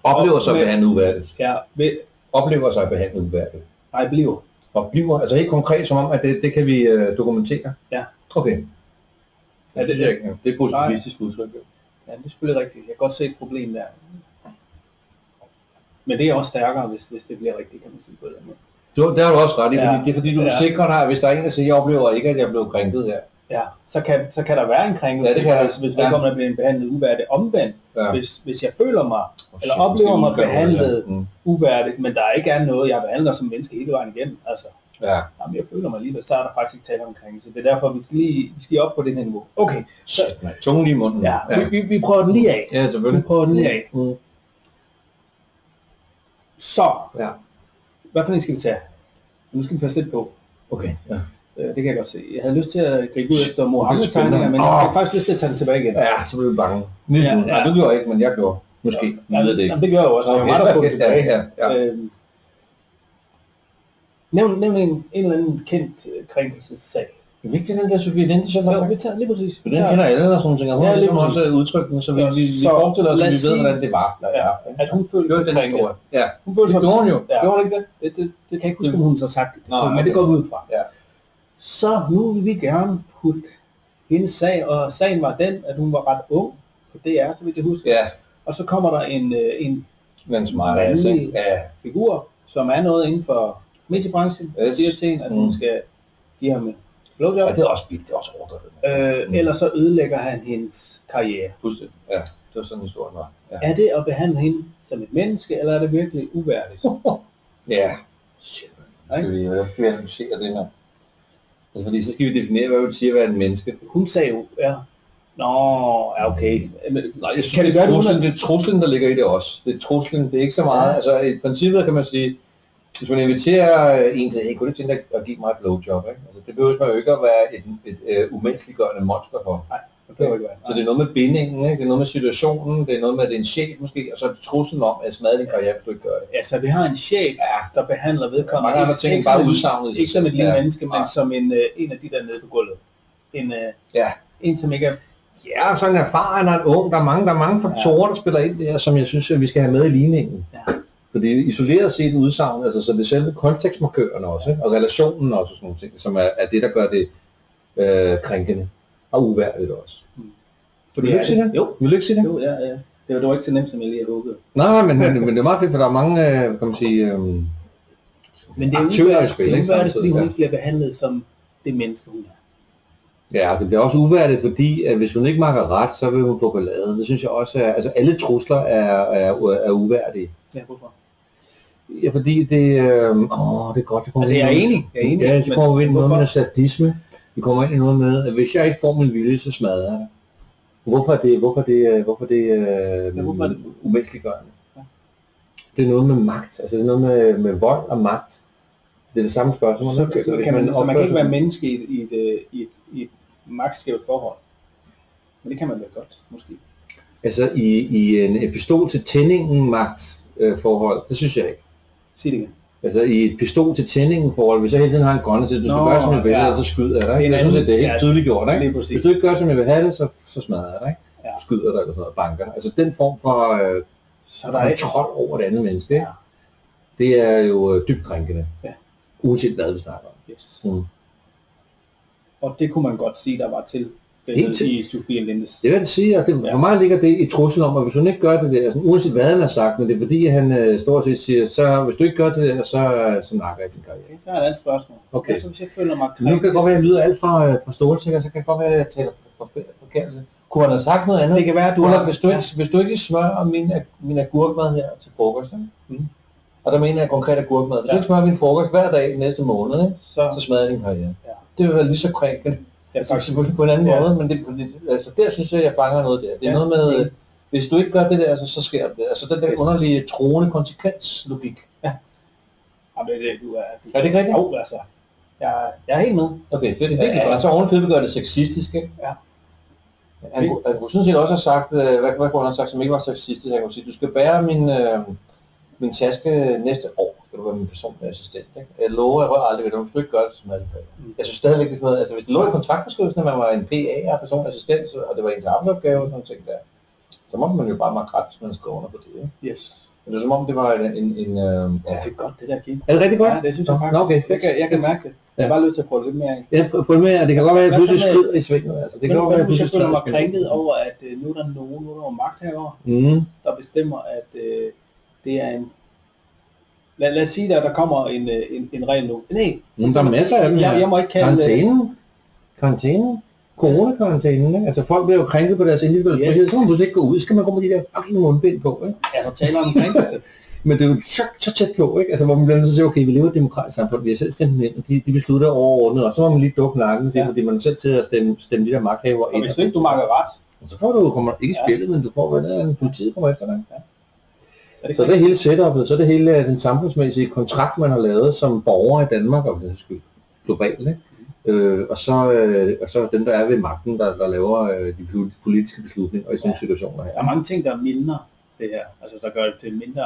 Speaker 1: Oplever sig
Speaker 2: Men-
Speaker 1: behandlet uværdigt.
Speaker 2: Ja, ved,
Speaker 1: Oplever sig behandlet uværdigt.
Speaker 2: nej, bliver.
Speaker 1: Og bliver, altså helt konkret som om, at det, det kan vi øh, dokumentere.
Speaker 2: Ja.
Speaker 1: Okay.
Speaker 2: Ja, det-
Speaker 1: det, det, det, det er et positivistisk udtryk. jo.
Speaker 2: Ja, det er selvfølgelig rigtigt. Jeg kan godt se et problem der. Men det er også stærkere, hvis, hvis det bliver rigtigt, kan man sige på den måde.
Speaker 1: Du, der har du også ret i,
Speaker 2: Ja.
Speaker 1: fordi det er fordi, du
Speaker 2: Ja.
Speaker 1: ja. sikrer dig, at hvis der er en, der siger, jeg oplever ikke, at jeg blev krænket her.
Speaker 2: Ja, så kan, så kan der være en krænkelse,
Speaker 1: Ja, det kan der.
Speaker 2: hvis, hvis
Speaker 1: Ja.
Speaker 2: vedkommende ja. bliver behandlet uværdigt omvendt.
Speaker 1: Ja.
Speaker 2: Ja. Hvis, hvis jeg føler mig
Speaker 1: Oh,
Speaker 2: Eller oplever mig behandlet.
Speaker 1: Mm.
Speaker 2: uværdigt, men der ikke er noget, jeg behandler som menneske hele vejen igennem, altså,
Speaker 1: Ja.
Speaker 2: jamen, jeg føler mig alligevel, så er der faktisk ikke tale om krænkelse. Det er derfor, vi skal lige, vi skal lige op på det her niveau. Okay,
Speaker 1: Shit, mand. Tungen lige i munden.
Speaker 2: ja,
Speaker 1: Mm. ja.
Speaker 2: Vi, vi, vi prøver den lige af.
Speaker 1: ja
Speaker 2: Vi
Speaker 1: selvfølgelig.
Speaker 2: prøver den lige af.
Speaker 1: Mm.
Speaker 2: Så,
Speaker 1: Ja.
Speaker 2: hvad for en skal vi tage? Nu skal vi passe lidt på.
Speaker 1: Okay. Ja.
Speaker 2: Øh, Det kan jeg godt se. Jeg havde lyst til at gribe
Speaker 1: Det
Speaker 2: ud efter
Speaker 1: er spændende.
Speaker 2: Mohammed-tegninger, men jeg har
Speaker 1: Åh.
Speaker 2: faktisk lyst til at tage det tilbage igen.
Speaker 1: ja, så blev vi bange. Ja,
Speaker 2: Ja,
Speaker 1: ja.
Speaker 2: ja.
Speaker 1: Nej, du gjorde ikke, men jeg gjorde. Måske. Ja, jeg ved det ikke.
Speaker 2: Jamen, det gør jeg jo også. Jeg var der på det
Speaker 1: ja,
Speaker 2: tilbage.
Speaker 1: ja, ja.
Speaker 2: Øhm, Nævn, nævn en, en eller anden kendt øh, krænkelsessag.
Speaker 1: Det er vigtigt, den der Sofie Linde, som
Speaker 2: Så vi tager lige præcis.
Speaker 1: Den kender alle og sådan ting, og hun
Speaker 2: Ja,
Speaker 1: har
Speaker 2: lige
Speaker 1: ligesom
Speaker 2: præcis.
Speaker 1: også udtrykt den, så vi,
Speaker 2: Ja,
Speaker 1: vi, vi
Speaker 2: så
Speaker 1: forestiller os,
Speaker 2: lad
Speaker 1: at vi
Speaker 2: os
Speaker 1: ved,
Speaker 2: sige-
Speaker 1: hvordan det var.
Speaker 2: Ja, at hun følte
Speaker 1: Det var
Speaker 2: sig
Speaker 1: den
Speaker 2: krænket.
Speaker 1: historie. Ja,
Speaker 2: Hun følte
Speaker 1: det
Speaker 2: sig
Speaker 1: gjorde hun jo.
Speaker 2: Ja.
Speaker 1: Gjorde hun ikke det?
Speaker 2: Det, det, det kan jeg ikke huske, om hun så har sagt det,
Speaker 1: Nej,
Speaker 2: men det
Speaker 1: okay.
Speaker 2: går vi ud fra.
Speaker 1: Ja.
Speaker 2: Så nu vil vi gerne putte hendes sag, og sagen var den, at hun var ret ung på DR, så vidt jeg husker.
Speaker 1: Ja,
Speaker 2: Og så kommer der en, øh, en
Speaker 1: men smart altså. ikke? Ja,
Speaker 2: figur, som er noget inden for mediebranchen, yes.
Speaker 1: Yes.
Speaker 2: siger til hende, at hun
Speaker 1: Mm.
Speaker 2: skal give ham en
Speaker 1: ja,
Speaker 2: blowjob.
Speaker 1: det er også vildt, det er også overdrevet.
Speaker 2: Øh,
Speaker 1: Mm.
Speaker 2: Ellers så ødelægger han hendes karriere.
Speaker 1: Fuldstændig. Ja, det var sådan historien var. Ja.
Speaker 2: Er det at behandle hende som et menneske, eller er det virkelig uværdigt?
Speaker 1: Ja. Shit, man. Skal vi, hvordan skal vi analysere det her? Altså, fordi så skal vi definere, hvad vi siger, hvad er en menneske.
Speaker 2: Hun sagde jo, ja. Nå, ja okay. Men,
Speaker 1: Nej, jeg synes,
Speaker 2: Kan
Speaker 1: kan
Speaker 2: det
Speaker 1: det,
Speaker 2: være,
Speaker 1: det,
Speaker 2: at hun
Speaker 1: truslen, det er truslen, der ligger i det også. Det er truslen, det er ikke så meget.
Speaker 2: Ja.
Speaker 1: Ja. Altså, i princippet kan man sige, hvis man inviterer øh, en til, hey, kunne du tænke dig at give mig et blowjob? Ikke? Altså, det behøver man jo ikke at være et, et, et uh, umenneskeliggørende monster for.
Speaker 2: det kan jo ikke være.
Speaker 1: Så det er noget med bindingen, ikke? det er noget med situationen, det er noget med, at det er en chef måske, og så er det truslen om, at smadre din karriere, hvis du ikke gør det.
Speaker 2: Altså, vi har en chef, ja. der behandler vedkommende.
Speaker 1: Mange andre
Speaker 2: ikke-
Speaker 1: ting
Speaker 2: ikke
Speaker 1: bare
Speaker 2: som en-
Speaker 1: udsagnet. i sig
Speaker 2: Ikke som et
Speaker 1: selv.
Speaker 2: lille
Speaker 1: ja.
Speaker 2: menneske, men
Speaker 1: Nej.
Speaker 2: som en, øh, en af de der nede på gulvet. En, øh,
Speaker 1: Ja.
Speaker 2: en som ikke er...
Speaker 1: Ja, så en erfaren og en ung. Der er mange, der er mange faktorer, der spiller ind der, som jeg synes, at vi skal have med i ligningen.
Speaker 2: Ja.
Speaker 1: Fordi isoleret set udsagn, altså så det er selve kontekstmarkørerne også, ikke? og relationen også, og sådan nogle ting, som er, er det, der gør det øh, krænkende. og uværdigt også.
Speaker 2: Mm.
Speaker 1: For du
Speaker 2: Ja,
Speaker 1: vil ikke sige det?
Speaker 2: Jo,
Speaker 1: Du vil ikke sige det?
Speaker 2: jo, ja, ja. Det var, det var ikke så nemt, som jeg lige havde håbet.
Speaker 1: Nej, men, men, men det er meget fedt, for der er mange, øh, kan man sige, øhm,
Speaker 2: Men det er
Speaker 1: Aktivt
Speaker 2: uværdigt,
Speaker 1: spil,
Speaker 2: det er
Speaker 1: ikke?
Speaker 2: uværdigt, fordi hun
Speaker 1: Samtidig, ja.
Speaker 2: ikke bliver behandlet som det menneske, hun er.
Speaker 1: ja, det bliver også uværdigt, fordi at hvis hun ikke makker ret, så vil hun få ballade. Det synes jeg også er, altså alle trusler er, er, er uværdige.
Speaker 2: Ja, hvorfor?
Speaker 1: Ja, fordi det, øh, åh, det er godt, det kommer
Speaker 2: Altså,
Speaker 1: ind
Speaker 2: jeg er
Speaker 1: i noget-
Speaker 2: enig, jeg er enig.
Speaker 1: Ja, så
Speaker 2: men
Speaker 1: kommer vi ind i noget
Speaker 2: hvorfor?
Speaker 1: med sadisme. Vi kommer ind i noget med, at hvis jeg ikke får min vilje, så smadrer jeg dig. Hvorfor er det, hvorfor er det, øh, hvorfor er det, øh,
Speaker 2: Ja, hvorfor er det-
Speaker 1: umenneskeliggørende?
Speaker 2: Ja.
Speaker 1: Det er noget med magt, altså det er noget med, med vold og magt. Det er det samme spørgsmål.
Speaker 2: så,
Speaker 1: ikke?
Speaker 2: kan,
Speaker 1: Altså,
Speaker 2: så
Speaker 1: hvis
Speaker 2: kan man, og man kan
Speaker 1: først-
Speaker 2: ikke være menneske i et, i et, øh, i et, i et magtskævt forhold. Men det kan man vel godt, måske.
Speaker 1: Altså i, i en et pistol til tændingen magt øh, forhold, det synes jeg ikke.
Speaker 2: Sig det igen.
Speaker 1: Altså i et pistol til tændingen forhold, hvis jeg hele tiden har en grønne til, du skal
Speaker 2: Nå,
Speaker 1: gøre som jeg vil,
Speaker 2: ja.
Speaker 1: ja. så skyder jeg dig.
Speaker 2: Det er en
Speaker 1: ikke? Jeg synes,
Speaker 2: anden-
Speaker 1: at det er helt
Speaker 2: ja,
Speaker 1: tydeligt gjort, ikke?
Speaker 2: Lige præcis.
Speaker 1: Hvis du ikke gør, som jeg vil have det, så, så smadrer jeg dig, ikke?
Speaker 2: Ja.
Speaker 1: Skyder dig eller sådan noget, banker. dig. Altså den form for øh,
Speaker 2: Så der er ikke...
Speaker 1: kontrol over det andet menneske, ikke?
Speaker 2: Ja.
Speaker 1: det er jo øh, dybt krænkende.
Speaker 2: Ja.
Speaker 1: Uanset hvad vi snakker om.
Speaker 2: Yes.
Speaker 1: Mm.
Speaker 2: Og det kunne man godt sige, der var til øh,
Speaker 1: Helt til.
Speaker 2: i Sofie Lindes.
Speaker 1: Det vil jeg sige, at det,
Speaker 2: Ja.
Speaker 1: for mig ligger det i truslen om, at hvis hun ikke gør det der, sådan, uanset hvad han har sagt, men det er fordi, han øh, stort set siger, så hvis du ikke gør det der, så, øh, så nakker jeg din karriere.
Speaker 2: Okay, så er der et andet spørgsmål.
Speaker 1: Okay.
Speaker 2: Jeg synes, jeg føler mig
Speaker 1: Nu kan det godt være, at jeg lyder alt for, øh, for stålsikker, så kan det godt være, at jeg taler for- for- forkert. Kunne han have sagt noget andet?
Speaker 2: Det kan være, at du
Speaker 1: Du
Speaker 2: har...
Speaker 1: har, hvis, du ikke, hvis du ikke smører min, øh, min agurkmad her til frokost, ikke?
Speaker 2: Mm.
Speaker 1: og der mener jeg konkret agurkmad, hvis
Speaker 2: Ja.
Speaker 1: du ikke smører min frokost hver dag den næste måned, ikke?
Speaker 2: så...
Speaker 1: så smadrer jeg din karriere.
Speaker 2: Ja.
Speaker 1: Det vil være lige så krænkende,
Speaker 2: Ja,
Speaker 1: altså
Speaker 2: faktisk.
Speaker 1: selvfølgelig på en anden
Speaker 2: Ja.
Speaker 1: måde, men det, det- altså, der synes jeg, jeg fanger noget der. Det er
Speaker 2: Ja.
Speaker 1: noget med,
Speaker 2: Ja.
Speaker 1: hvis du ikke gør det der, så, så sker det. Altså den der
Speaker 2: Yes.
Speaker 1: underlige troende konsekvenslogik.
Speaker 2: Ja, men det, du er... Du,
Speaker 1: Er det ikke rigtigt?
Speaker 2: Jo, altså. Jeg, jeg er helt med.
Speaker 1: Okay, fedt. Det er virkelig
Speaker 2: Ja, ja.
Speaker 1: godt. Så ovenkøbet gør det sexistisk, ikke?
Speaker 2: Ja.
Speaker 1: Han, kunne- han kunne sådan set også have sagt, øh, hvad, hvad kunne han have sagt, som ikke var sexistisk? Han kunne sige, du skal bære min, øh, min taske næste år, skal du være min personlige assistent. Ikke? Jeg lover, jeg rører aldrig ved det, hvis du ikke gør det, så smadrer jeg det.
Speaker 2: Mm.
Speaker 1: Jeg synes stadigvæk, det er sådan noget, altså hvis det lå i kontraktbeskrivelsen, at man var en PA og personlig assistent, så- og det var ens arbejdsopgave og sådan ting der, så må man jo bare meget ret, hvis man skriver under på det. Ikke?
Speaker 2: Yes.
Speaker 1: Men det er som om, det var en... en, en øh,
Speaker 2: Ja.
Speaker 1: ja.
Speaker 2: Det er godt, det der gik.
Speaker 1: Er det rigtig godt?
Speaker 2: Ja, det synes jeg
Speaker 1: Nå,
Speaker 2: faktisk.
Speaker 1: nå, okay,
Speaker 2: jeg, kan, jeg kan mærke det. Jeg er bare nødt til at prøve lidt mere af.
Speaker 1: Jeg prøver med, at det kan godt være, at jeg
Speaker 2: Hvad så
Speaker 1: pludselig
Speaker 2: med-
Speaker 1: skrider i svinget. Altså, det
Speaker 2: Det
Speaker 1: kan
Speaker 2: kan
Speaker 1: godt være, at jeg
Speaker 2: hvis jeg
Speaker 1: pludselig
Speaker 2: føler
Speaker 1: skrider i
Speaker 2: mig
Speaker 1: svinget.
Speaker 2: krænket over, at øh, nu er der nogen, nu er der nogen magt herover,
Speaker 1: Mm.
Speaker 2: der bestemmer, at øh, det er en... Lad, lad os sige, at der kommer en, øh, en, en regel nu. Nej,
Speaker 1: Men Mm, der er masser af dem her.
Speaker 2: jeg, jeg må ikke kalde...
Speaker 1: Karantænen. Karantænen. Coronakarantænen. ikke? Altså folk bliver jo krænket på deres individuelle
Speaker 2: Yes.
Speaker 1: frihed. Så kan man pludselig ikke gå ud. Så skal man gå med de der fucking mundbind på. Ikke?
Speaker 2: Ja, der taler om krænkelse.
Speaker 1: Men det er jo så, så tæt på, ikke? Altså, hvor man bliver nødt til at sige, okay, vi lever i et demokratisk samfund, vi har selv stemt dem ind, og de, de beslutter overordnet, og så må man lige dukke nakken, ja.
Speaker 2: Ja.
Speaker 1: fordi man er selv til at stemme, stemme de der magthavere
Speaker 2: Og
Speaker 1: ind.
Speaker 2: hvis ikke du makker ret,
Speaker 1: Så får du kommer ikke i
Speaker 2: Ja.
Speaker 1: spillet, men du får, hvad der er, politiet kommer efter dig.
Speaker 2: er det
Speaker 1: Så er det hele setupet, så er det hele øh, den samfundsmæssige kontrakt, man har lavet som borger i Danmark, og det skyld globalt, ikke? Øh, og, så, øh, og så dem, der er ved magten, der, der laver øh, de pol- politiske beslutninger i sådan nogle
Speaker 2: Ja.
Speaker 1: situationer her.
Speaker 2: Der er mange ting, der mildner det her. Altså, der gør det til mindre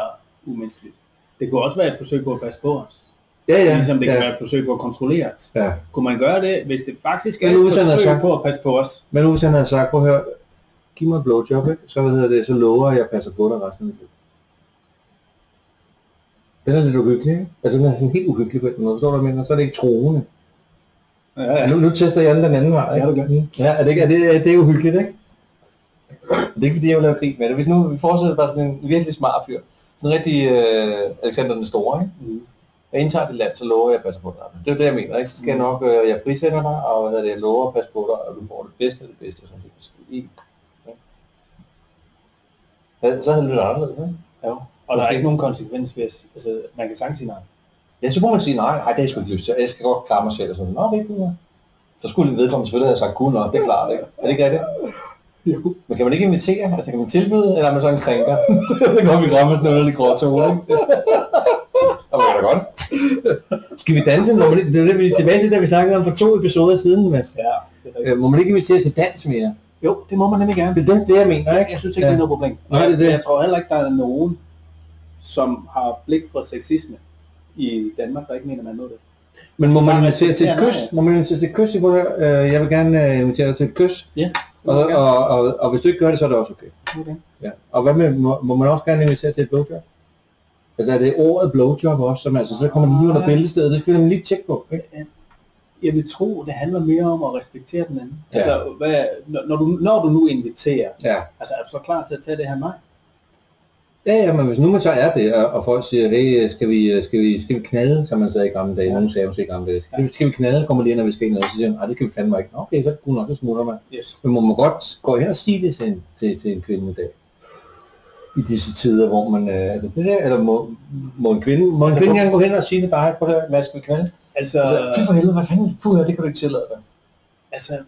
Speaker 2: umenneskeligt. Det kunne også være et forsøg på at passe på os.
Speaker 1: Ja, ja.
Speaker 2: Ligesom det
Speaker 1: ja,
Speaker 2: kan være et forsøg på at kontrollere os.
Speaker 1: ja.
Speaker 2: Kunne man gøre det, hvis det faktisk er
Speaker 1: Men
Speaker 2: et
Speaker 1: uden at have
Speaker 2: forsøg
Speaker 1: sagt-
Speaker 2: på at passe på os?
Speaker 1: Men hvis han havde sagt, prøv at høre, giv mig et blowjob, ikke? Så, hvad hedder det, så lover jeg, at jeg passer på dig resten af mit liv. Det er sådan lidt uhyggeligt, ikke? Altså, den er sådan helt uhyggelig på den måde, forstår du, hvad jeg mener? Så er det ikke troende.
Speaker 2: Ja, ja.
Speaker 1: Nu, nu tester jeg den den anden vej.
Speaker 2: Ja, du
Speaker 1: gør. Ja, er det, ikke, er det, det er uhyggeligt, ikke? Det er ikke, fordi jeg vil lave krig med det. Hvis nu vi forestiller os, der er sådan en virkelig smart fyr, sådan en rigtig øh, Alexander den Store, ikke?
Speaker 2: Mm.
Speaker 1: Jeg indtager dit land, så lover jeg, at jeg passer på dig. Det er jo det, jeg mener, ikke? Så skal jeg nok, øh, jeg frisætter dig, og hvad hedder det, jeg lover at passe på dig, og du får det bedste af det bedste, som du kan ske i. ikke? Ja, så havde det lyttet anderledes, ikke?
Speaker 2: Ja. Og der er ikke nogen konsekvens, hvis altså, man kan sagtens sige nej.
Speaker 1: Ja, så kunne man sige, nej, nej, det har jeg sgu ikke lyst til. Jeg skal godt klare mig selv. Og sådan, nå, det er ikke Så skulle vedkommende selvfølgelig have sagt, gud, nå, det er klart, ikke? Er det ikke det?
Speaker 2: Jo.
Speaker 1: Men kan man ikke invitere? Altså, kan man tilbyde, eller er man sådan en krænker? det går vi ramme sådan noget lidt gråzone, ikke? Og man kan da godt. Skal vi danse? Må man ikke, det er det, vi er tilbage til, da vi snakkede om for to episoder siden, Mads.
Speaker 2: Ja, det er rigtigt.
Speaker 1: Øh, må man ikke invitere til dans mere?
Speaker 2: jo, det må man nemlig gerne.
Speaker 1: Det er det, det jeg mener, ikke?
Speaker 2: Jeg synes ikke, ja. det er noget problem.
Speaker 1: Nej, det er det.
Speaker 2: Jeg tror heller ikke, der er nogen, som har blik for sexisme i Danmark, der ikke mener, man nå det.
Speaker 1: Men må man invitere til
Speaker 2: Ja,
Speaker 1: et
Speaker 2: nej.
Speaker 1: kys? Må man invitere til et kys? Sigurd? Øh, Jeg vil gerne øh, invitere dig til et kys.
Speaker 2: Ja.
Speaker 1: Og, og, og, og hvis du ikke gør det, så er det også okay.
Speaker 2: Okay.
Speaker 1: Ja. Og hvad med, må, må man også gerne invitere til et blowjob? Altså er det ordet blowjob også, som altså, så kommer det lige under
Speaker 2: Nej.
Speaker 1: bæltestedet, det skal man lige tjekke på, ikke?
Speaker 2: Ja. jeg vil tro, det handler mere om at respektere den anden.
Speaker 1: Ja.
Speaker 2: Ja. Altså, hvad, når, når, du, når du nu inviterer,
Speaker 1: Ja.
Speaker 2: altså er du så klar til at tage det her nej?
Speaker 1: Ja, ja, men hvis nu man så er det, og, og folk siger, hey, skal vi, øh, skal vi, skal vi knalde, som man sagde i gamle dage, nogen sagde måske i gamle dage, skal vi, skal vi knalde, kommer de ind, og vi skal ikke noget, så siger man, nej, det skal vi fandme ikke. Nå, Okay, så kunne nok, så smutter man.
Speaker 2: Yes.
Speaker 1: Men må man godt gå hen og sige det til en, til, til en kvinde i dag? I disse tider, hvor man, øh, altså det der, eller må, må en kvinde, må en
Speaker 2: Altså,
Speaker 1: kvinde
Speaker 2: hvor-
Speaker 1: gerne gå hen og sige til dig, prøv at høre, hvad skal vi knalde?
Speaker 2: Altså,
Speaker 1: Altså, fy for helvede, hvad fanden, puh, det kan du ikke tillade dig.
Speaker 2: altså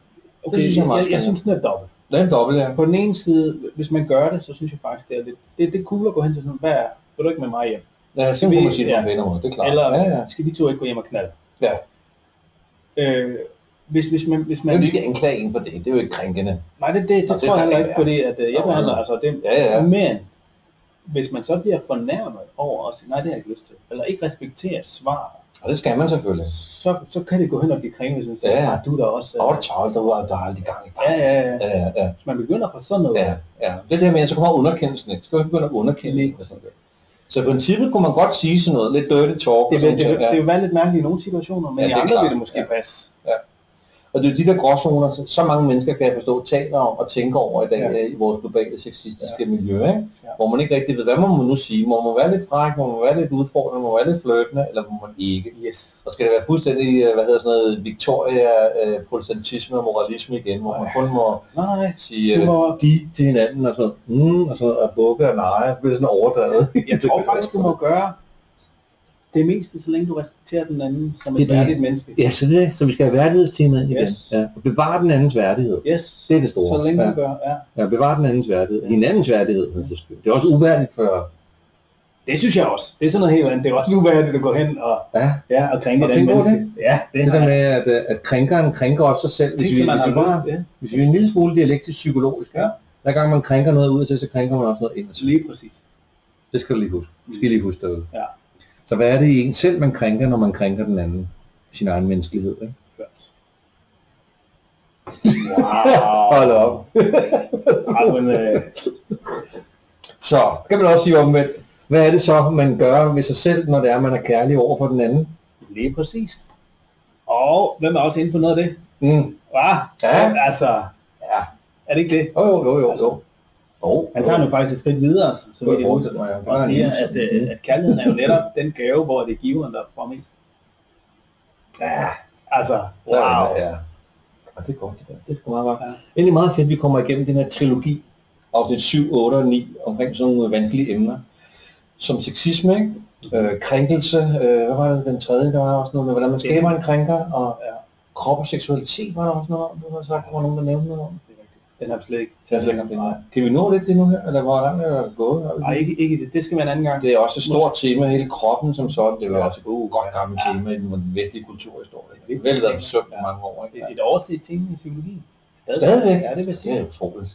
Speaker 2: okay,
Speaker 1: synes jeg er
Speaker 2: jeg,
Speaker 1: meget
Speaker 2: jeg, jeg
Speaker 1: spændende.
Speaker 2: synes, den er dobbelt.
Speaker 1: Det er en dobbelt, ja.
Speaker 2: På den ene side, hvis man gør det, så synes jeg faktisk, det er lidt, det, det er cool at gå hen til sådan, hvad er, vil du ikke med mig hjem?
Speaker 1: Ja, så
Speaker 2: vi-
Speaker 1: kunne man sige det på
Speaker 2: ja.
Speaker 1: en venner, det er klart.
Speaker 2: Eller
Speaker 1: ja, ja.
Speaker 2: skal vi to ikke gå hjem og knalde?
Speaker 1: Ja.
Speaker 2: Øh, hvis, hvis man, hvis man,
Speaker 1: Men du ikke anklage en for det, det er jo ikke krænkende.
Speaker 2: Nej, det, det, det
Speaker 1: Nå, det
Speaker 2: tror jeg
Speaker 1: kan
Speaker 2: heller
Speaker 1: ikke
Speaker 2: ikke, fordi at, øh, jeg
Speaker 1: Nå,
Speaker 2: behandler,
Speaker 1: ja.
Speaker 2: altså det,
Speaker 1: Ja, ja.
Speaker 2: men hvis man så bliver fornærmet over at sige, nej, det har jeg ikke lyst til, eller ikke respekterer svar,
Speaker 1: Og det skal man selvfølgelig.
Speaker 2: så, så kan det gå hen og blive kringet, hvis man
Speaker 1: Ja.
Speaker 2: siger, ja. du er da også... øh,
Speaker 1: Åh, oh, Charles, der var der er aldrig gang i dig.
Speaker 2: ja, ja, ja.
Speaker 1: Ja, ja, ja.
Speaker 2: Hvis man begynder på sådan noget,
Speaker 1: ja, ja. Det er det her med, at så kommer underkendelsen ikke. Så kan man begynde at underkende en. og sådan noget. Så i princippet kunne man godt sige sådan noget, lidt dirty talk. og
Speaker 2: det,
Speaker 1: sådan
Speaker 2: vil, det,
Speaker 1: noget,
Speaker 2: vil,
Speaker 1: ja.
Speaker 2: det vil være lidt mærkeligt i nogle situationer, men
Speaker 1: Ja, det
Speaker 2: ja, i
Speaker 1: er
Speaker 2: andre
Speaker 1: klart.
Speaker 2: vil det måske
Speaker 1: Ja.
Speaker 2: ja. passe.
Speaker 1: Og det er jo de der gråzoner, så- så mange mennesker kan jeg forstå, taler om og tænker over i dag
Speaker 2: Ja.
Speaker 1: ja. i vores globale sexistiske ja. miljø, ikke?
Speaker 2: Ja.
Speaker 1: hvor man ikke rigtig ved, hvad må man nu sige? Må man være lidt fræk, må man være lidt udfordrende, må man være lidt flirtende, eller må man ikke?
Speaker 2: Yes.
Speaker 1: Og skal det være fuldstændig, øh, hvad hedder sådan noget, Victoria-protestantisme og moralisme igen, hvor man kun må
Speaker 2: Nej,
Speaker 1: sige
Speaker 2: du
Speaker 1: øh,
Speaker 2: må,
Speaker 1: de til hinanden, og så, mm, og så at bukke og lege, og så bliver det sådan overdrevet.
Speaker 2: jeg tror faktisk, du må gøre det meste, så længe du respekterer den anden som
Speaker 1: Det
Speaker 2: et
Speaker 1: er det.
Speaker 2: værdigt menneske.
Speaker 1: Ja, så, det, så vi skal have værdighedstemaet igen.
Speaker 2: Yes.
Speaker 1: Ja, og bevare den andens værdighed.
Speaker 2: Yes,
Speaker 1: Det er det store.
Speaker 2: så længe
Speaker 1: Ja.
Speaker 2: du gør, ja.
Speaker 1: Ja, bevare den andens værdighed. Hinandens værdighed, men det skal- Det er også uværdigt for...
Speaker 2: Det synes jeg også. Det er sådan noget helt andet. Det er også uværdigt at gå hen og,
Speaker 1: Ja,
Speaker 2: ja, og krænke
Speaker 1: Har
Speaker 2: et
Speaker 1: du
Speaker 2: andet
Speaker 1: tænkt over
Speaker 2: menneske. Ja, det,
Speaker 1: det
Speaker 2: har
Speaker 1: der
Speaker 2: jeg.
Speaker 1: med, at, øh, at krænkeren krænker også sig selv. Hvis
Speaker 2: Ting,
Speaker 1: vi,
Speaker 2: som man
Speaker 1: hvis,
Speaker 2: har
Speaker 1: vi bare,
Speaker 2: lyst ja.
Speaker 1: hvis vi er en lille smule dialektisk psykologisk, ja.
Speaker 2: Ja.
Speaker 1: hver gang man krænker noget ud til, så krænker man også noget ind.
Speaker 2: Så lige præcis.
Speaker 1: Det skal du lige huske. Det skal I lige huske derude.
Speaker 2: Ja.
Speaker 1: Så hvad er det i en selv, man krænker, når man krænker den anden? Sin egen menneskelighed, ikke?
Speaker 2: Hørt. Wow.
Speaker 1: Hold op.
Speaker 2: Ej, men, øh,
Speaker 1: Så kan man også sige omvendt. Hvad er det så, man gør ved sig selv, når det er, man er kærlig over for den anden?
Speaker 2: lige præcis. Og hvem er også inde på noget af det?
Speaker 1: Mm.
Speaker 2: Hva?
Speaker 1: Ja.
Speaker 2: Altså, ja. er det ikke det?
Speaker 1: Jo, jo, jo, jo.
Speaker 2: Altså,
Speaker 1: jo. jo.
Speaker 2: Han tager nu faktisk et skridt videre, så- så
Speaker 1: Det
Speaker 2: vidt jeg
Speaker 1: forestiller
Speaker 2: husker,
Speaker 1: mig, ja.
Speaker 2: og
Speaker 1: Bare en
Speaker 2: siger,
Speaker 1: lille
Speaker 2: at, øh, at kærligheden er jo netop den gave, hvor det er giveren, der får mest.
Speaker 1: Ja,
Speaker 2: Altså,
Speaker 1: så er
Speaker 2: wow.
Speaker 1: det, ja. Og det er godt, det der. Det er sgu meget godt.
Speaker 2: Ja.
Speaker 1: Egentlig meget fedt, at vi kommer igennem den her trilogi, afsnit 7, 8 og 9, omkring sådan nogle vanskelige emner. Som sexisme, ikke? Øh, krænkelse, øh, hvad var det den tredje, der var også noget med, hvordan man skaber en krænker, og
Speaker 2: Ja.
Speaker 1: krop og seksualitet var der også noget om, det var sagt, der var nogen, der nævnte noget om.
Speaker 2: Det er rigtigt. Den har vi slet ikke.
Speaker 1: Så jeg slet ikke nej. Kan vi nå lidt det nu her, eller hvor langt er det gået?
Speaker 2: Nej, ikke, ikke det. Det skal være en anden gang.
Speaker 1: Det er også et stort tema, hele kroppen som sådan. Det var
Speaker 2: Ja.
Speaker 1: også et uh, godt gammelt
Speaker 2: Ja.
Speaker 1: tema i den vestlige kulturhistorie. Det har
Speaker 2: Vigtigt
Speaker 1: vel været
Speaker 2: tema.
Speaker 1: besøgt i
Speaker 2: Ja.
Speaker 1: mange år, ikke?
Speaker 2: et, et overset ting i psykologien.
Speaker 1: Stadigvæk?
Speaker 2: Ja, det vil
Speaker 1: Det er
Speaker 2: sige.
Speaker 1: utroligt.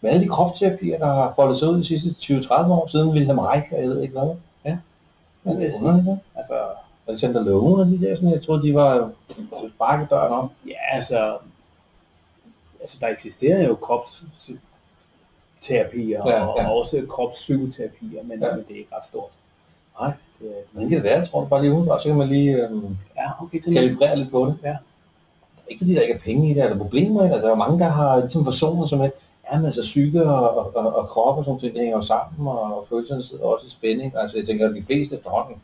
Speaker 1: Med alle de kropsterapier, der har foldet sig ud de sidste 20-30 år siden Wilhelm Reich, og jeg ved ikke hvad. Ja. Ja,
Speaker 2: Det vil
Speaker 1: det
Speaker 2: jeg
Speaker 1: er underligt, ikke?
Speaker 2: Altså,
Speaker 1: Alexander Løven og de der, sådan, jeg troede, de var sparkedøren om.
Speaker 2: ja, altså, altså der eksisterer jo kropsterapier
Speaker 1: Ja,
Speaker 2: ja, og,
Speaker 1: ja.
Speaker 2: og også kropspsykoterapier, men,
Speaker 1: Ja.
Speaker 2: ja. men det er ikke ret stort.
Speaker 1: Nej.
Speaker 2: Det, er-
Speaker 1: Hvordan kan det være, jeg tror det bare lige udenfor, så kan man lige øhm,
Speaker 2: ja, okay, til
Speaker 1: kalibrere lidt på det.
Speaker 2: Ja.
Speaker 1: Ikke fordi der ikke er penge i det, er der problemer i det, altså, der er mange, der har ligesom personer, som er, ja, men altså psyke og, og, og, og krop og sådan ting, det hænger jo sammen, og følelserne sidder også i spænding. Altså, jeg tænker, at de fleste efterhånden,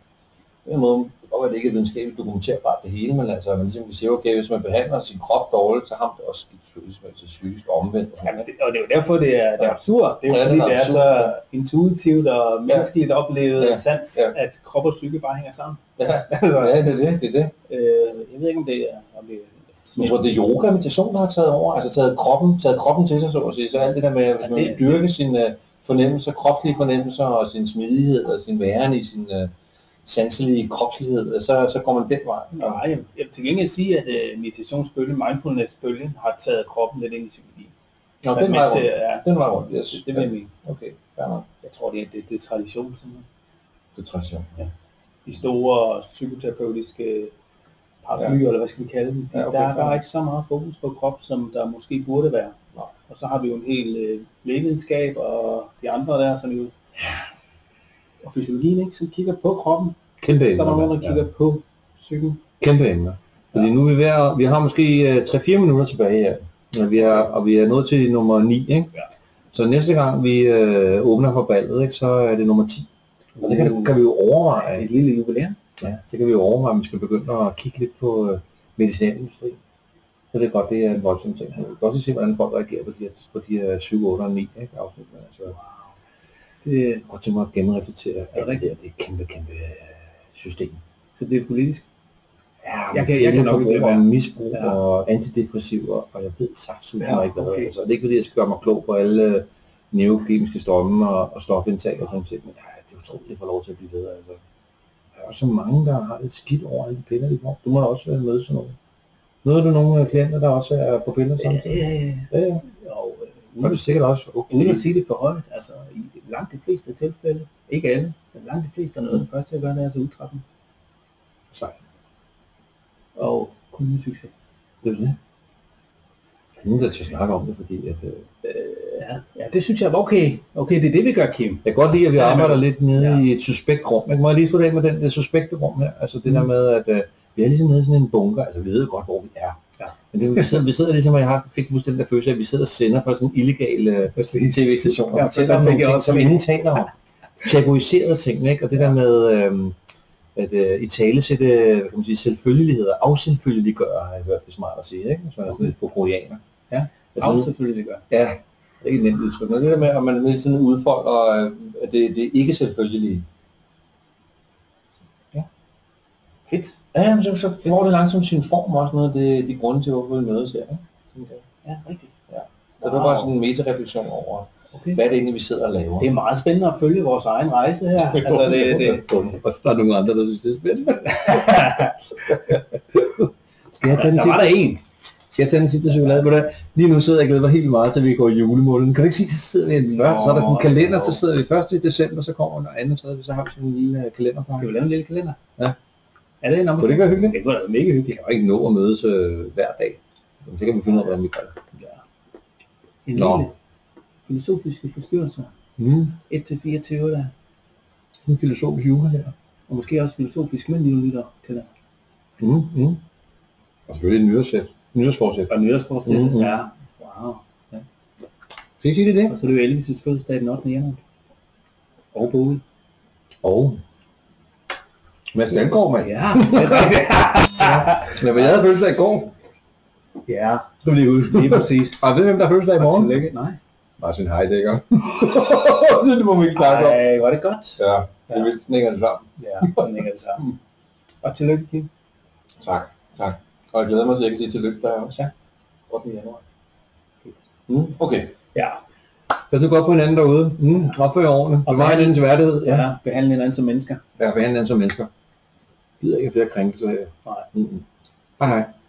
Speaker 1: på en måde, og at det ikke er videnskabeligt dokumenterbart det hele, men altså, man ligesom kan sige, okay, hvis man behandler sin krop dårligt, så har man det også skidt følelsesmæssigt psykisk og omvendt. Og sådan,
Speaker 2: Jamen,
Speaker 1: noget.
Speaker 2: det, og det er jo derfor, det er, det er
Speaker 1: Ja.
Speaker 2: absurd. Det er jo
Speaker 1: Ja,
Speaker 2: fordi,
Speaker 1: det er
Speaker 2: det er
Speaker 1: absurd,
Speaker 2: så intuitivt og menneskeligt oplevet
Speaker 1: Ja,
Speaker 2: ja. sans,
Speaker 1: ja.
Speaker 2: at krop og psyke bare hænger sammen.
Speaker 1: ja,
Speaker 2: Altså,
Speaker 1: ja, det er det, det er det.
Speaker 2: øh, jeg ved ikke, om det er... Om det er
Speaker 1: Men jeg tror, det er yoga og meditation, der har taget over, altså taget kroppen, taget kroppen til sig, så at sige. Så alt det der med, at hvis man
Speaker 2: det-
Speaker 1: vil dyrke sine øh, fornemmelser, kropslige fornemmelser og sin smidighed og sin væren i sin uh, sanselige kropslighed, så, så går man den vej.
Speaker 2: Nej, jeg jeg vil til gengæld sige, at øh, meditationsbølgen, mindfulnessbølgen, har taget kroppen lidt ind i psykologien.
Speaker 1: Nå,
Speaker 2: Men
Speaker 1: den vej rundt.
Speaker 2: ja,
Speaker 1: Den vej rundt, yes.
Speaker 2: det, det vil jeg mene.
Speaker 1: Okay, fair nok.
Speaker 2: Jeg tror, det er, det, det er tradition, sådan
Speaker 1: Det tror jeg.
Speaker 2: De store psykoterapeutiske øh, paraplyer, ja. eller hvad skal vi kalde dem, de,
Speaker 1: Ja,
Speaker 2: ja,
Speaker 1: okay,
Speaker 2: okay, der, der
Speaker 1: fair.
Speaker 2: er ikke så meget fokus på krop, som der måske burde være.
Speaker 1: Nej.
Speaker 2: Og så har vi jo en hel øh, lægevidenskab og de andre der, som jo og fysiologien, ikke, som kigger på kroppen.
Speaker 1: Kæmpe
Speaker 2: Så er der
Speaker 1: emner.
Speaker 2: nogen, der
Speaker 1: mand. Ja.
Speaker 2: kigger på psyken.
Speaker 1: Kæmpe emner. Fordi nu er vi ved at, vi har måske øh, 3-4 minutter tilbage her, og vi er, og vi er nået til nummer 9, ikke?
Speaker 2: Ja.
Speaker 1: Så næste gang vi øh, åbner for ballet, ikke, så er det nummer 10. Og det kan, kan vi jo overveje,
Speaker 2: Uh. et lille jubilæum.
Speaker 1: ja, så kan vi jo overveje, om vi skal begynde at kigge lidt på øh, medicinalindustrien. Så det er godt, det er en voldsom ting. Vi kan godt lige se, hvordan folk reagerer på de her, på de her 7, 8 og 9 ikke, afsnit. men Altså,
Speaker 2: Det,
Speaker 1: jeg kunne godt tænke mig at genreflektere
Speaker 2: det
Speaker 1: alt det
Speaker 2: rigtigt?
Speaker 1: her, det er et kæmpe, kæmpe øh, system.
Speaker 2: så det er politisk.
Speaker 1: Ja,
Speaker 2: Jeg kan- jeg kan nok ikke lade
Speaker 1: være.
Speaker 2: være.
Speaker 1: misbrug
Speaker 2: Ja.
Speaker 1: ja. og antidepressiver, og jeg ved sagsud
Speaker 2: Ja,
Speaker 1: ja, ikke, hvad
Speaker 2: okay.
Speaker 1: okay. altså. Det er ikke fordi, jeg skal gøre mig klog på alle øh, neurokemiske strømme og, og stofindtag og sådan set, men ja, det er utroligt at få lov til at blive ved. Altså. Der er også så mange, der har det skidt over alle de piller, de får. Du må da også øh, møde sådan noget. Møder du nogle øh, klienter, der også er på piller samtidig?
Speaker 2: ja, ja.
Speaker 1: Ja, ja.
Speaker 2: Og øh,
Speaker 1: Så er
Speaker 2: uden,
Speaker 1: det sikkert også oh,
Speaker 2: uden
Speaker 1: okay.
Speaker 2: at sige det for højt, altså i de- langt de fleste tilfælde, ikke alle, men langt de fleste er noget af det første, jeg gør, det er altså udtrappen.
Speaker 1: Sejt.
Speaker 2: Og kun med succes.
Speaker 1: Det er det. Der er nogen, der til at snakke om det, fordi at, øh,
Speaker 2: Ja, ja, det synes jeg var okay. Okay, det er det, vi gør, Kim.
Speaker 1: Jeg kan godt lide, at vi
Speaker 2: Ja, men-
Speaker 1: arbejder lidt nede
Speaker 2: Ja.
Speaker 1: ja. i et suspekt rum. Ikke? Må jeg lige slutte af med den, det suspekte rum her? Altså det mm. der med, at øh, vi er ligesom nede i sådan en bunker. Altså vi ved godt, hvor vi er.
Speaker 2: Ja.
Speaker 1: Men det, vi, sidder, vi sidder ligesom, og jeg har fik fuldstændig den der følelse af, at vi sidder og sender på sådan illegale øh,
Speaker 2: Præcis.
Speaker 1: tv-stationer. Ja,
Speaker 2: Ja, for
Speaker 1: og fortæller
Speaker 2: der
Speaker 1: om
Speaker 2: fik
Speaker 1: nogle
Speaker 2: jeg
Speaker 1: ting,
Speaker 2: også
Speaker 1: som
Speaker 2: med.
Speaker 1: ingen taler om. Tabuiserede ting, ikke? Og det der med... Øh, at øh, i tale sætte hvad kan man sige, selvfølgeligheder, afselfølgeliggøre, har jeg hørt det smart at sige, ikke? Hvis man er sådan lidt fokroianer.
Speaker 2: Ja.
Speaker 1: Altså,
Speaker 2: Og selvfølgelig det gør.
Speaker 1: Ja, det er ikke et nemt udtryk, men det der med, at man hele tiden udfolder, øh, at det, det er ikke selvfølgelige.
Speaker 2: Fedt.
Speaker 1: Ja, men så, så får det langsomt sin form også noget af det, de grunde til, hvorfor vi mødes her. ikke?
Speaker 2: Ja, rigtigt.
Speaker 1: Så det var bare sådan en metareflektion over,
Speaker 2: Okay.
Speaker 1: hvad er det egentlig, vi sidder og laver?
Speaker 2: Det er meget spændende at følge vores egen rejse her. Altså, det, det,
Speaker 1: Og så er der nogle andre, der synes, det er spændende. Skal jeg tage den
Speaker 2: der var
Speaker 1: sidste,
Speaker 2: der en.
Speaker 1: skal jeg tage den sidste chokolade på det? Lige nu sidder jeg og glæder mig helt vildt meget til, at vi går i julemåneden. Kan du ikke sige, at så sidder vi i den første, så er der sådan en
Speaker 2: Nå,
Speaker 1: kalender,
Speaker 2: jo.
Speaker 1: så sidder vi 1. i december, så kommer den, og 2. og 3. så har vi sådan en lille øh, kalenderpakke.
Speaker 2: Skal vi lave en lille kalender?
Speaker 1: Ja.
Speaker 2: Er det en om?
Speaker 1: Kunne det ikke være hyggeligt?
Speaker 2: Det kunne da være mega
Speaker 1: Vi
Speaker 2: hyggeligt.
Speaker 1: kan jo ikke nå at mødes øh, hver dag. Men så kan vi finde ud af, hvordan vi gør det.
Speaker 2: En
Speaker 1: Nå.
Speaker 2: lille filosofiske forstyrrelser.
Speaker 1: Mm.
Speaker 2: 1-4 teorier,
Speaker 1: En filosofisk jule her.
Speaker 2: og måske også filosofisk myndige lytter til det.
Speaker 1: Mm. Mm. Og selvfølgelig en nyårssæt. Nyårsforsæt.
Speaker 2: Og nyårsforsæt.
Speaker 1: Mhm.
Speaker 2: Mm-hmm. Ja. Wow.
Speaker 1: Skal I sige det er det?
Speaker 2: Og så er det jo Elvis' fødselsdag den 8. januar. Og Bowie.
Speaker 1: Og Mads Dalgaard, mand.
Speaker 2: Ja.
Speaker 1: Ja, men jeg havde fødselsdag i går.
Speaker 2: ja,
Speaker 1: Det skal vi lige huske.
Speaker 2: lige præcis.
Speaker 1: Og ved I, hvem der har fødselsdag i morgen?
Speaker 2: Tillykke. Nej.
Speaker 1: Martin Heidegger. det må vi ikke snakke om.
Speaker 2: Ej, var det godt.
Speaker 1: Ja, det er vildt. Sådan hænger det sammen.
Speaker 2: Ja, sådan hænger det sammen. Og tillykke, Kim.
Speaker 1: Tak. Tak. Og jeg glæder mig til, at jeg kan sige tillykke der også.
Speaker 2: Ja.
Speaker 1: 8. januar. Mm, okay.
Speaker 2: Ja.
Speaker 1: Pas nu godt på hinanden derude. Mm, opfør jer ordentligt.
Speaker 2: Og
Speaker 1: Bevar
Speaker 2: vær-
Speaker 1: hinandens værdighed.
Speaker 2: ja. Behandle hinanden som mennesker.
Speaker 1: Ja, behandle hinanden som mennesker. Jeg gider ikke have flere krænkelser her.
Speaker 2: Nej.
Speaker 1: Mm-mm. Hej hej.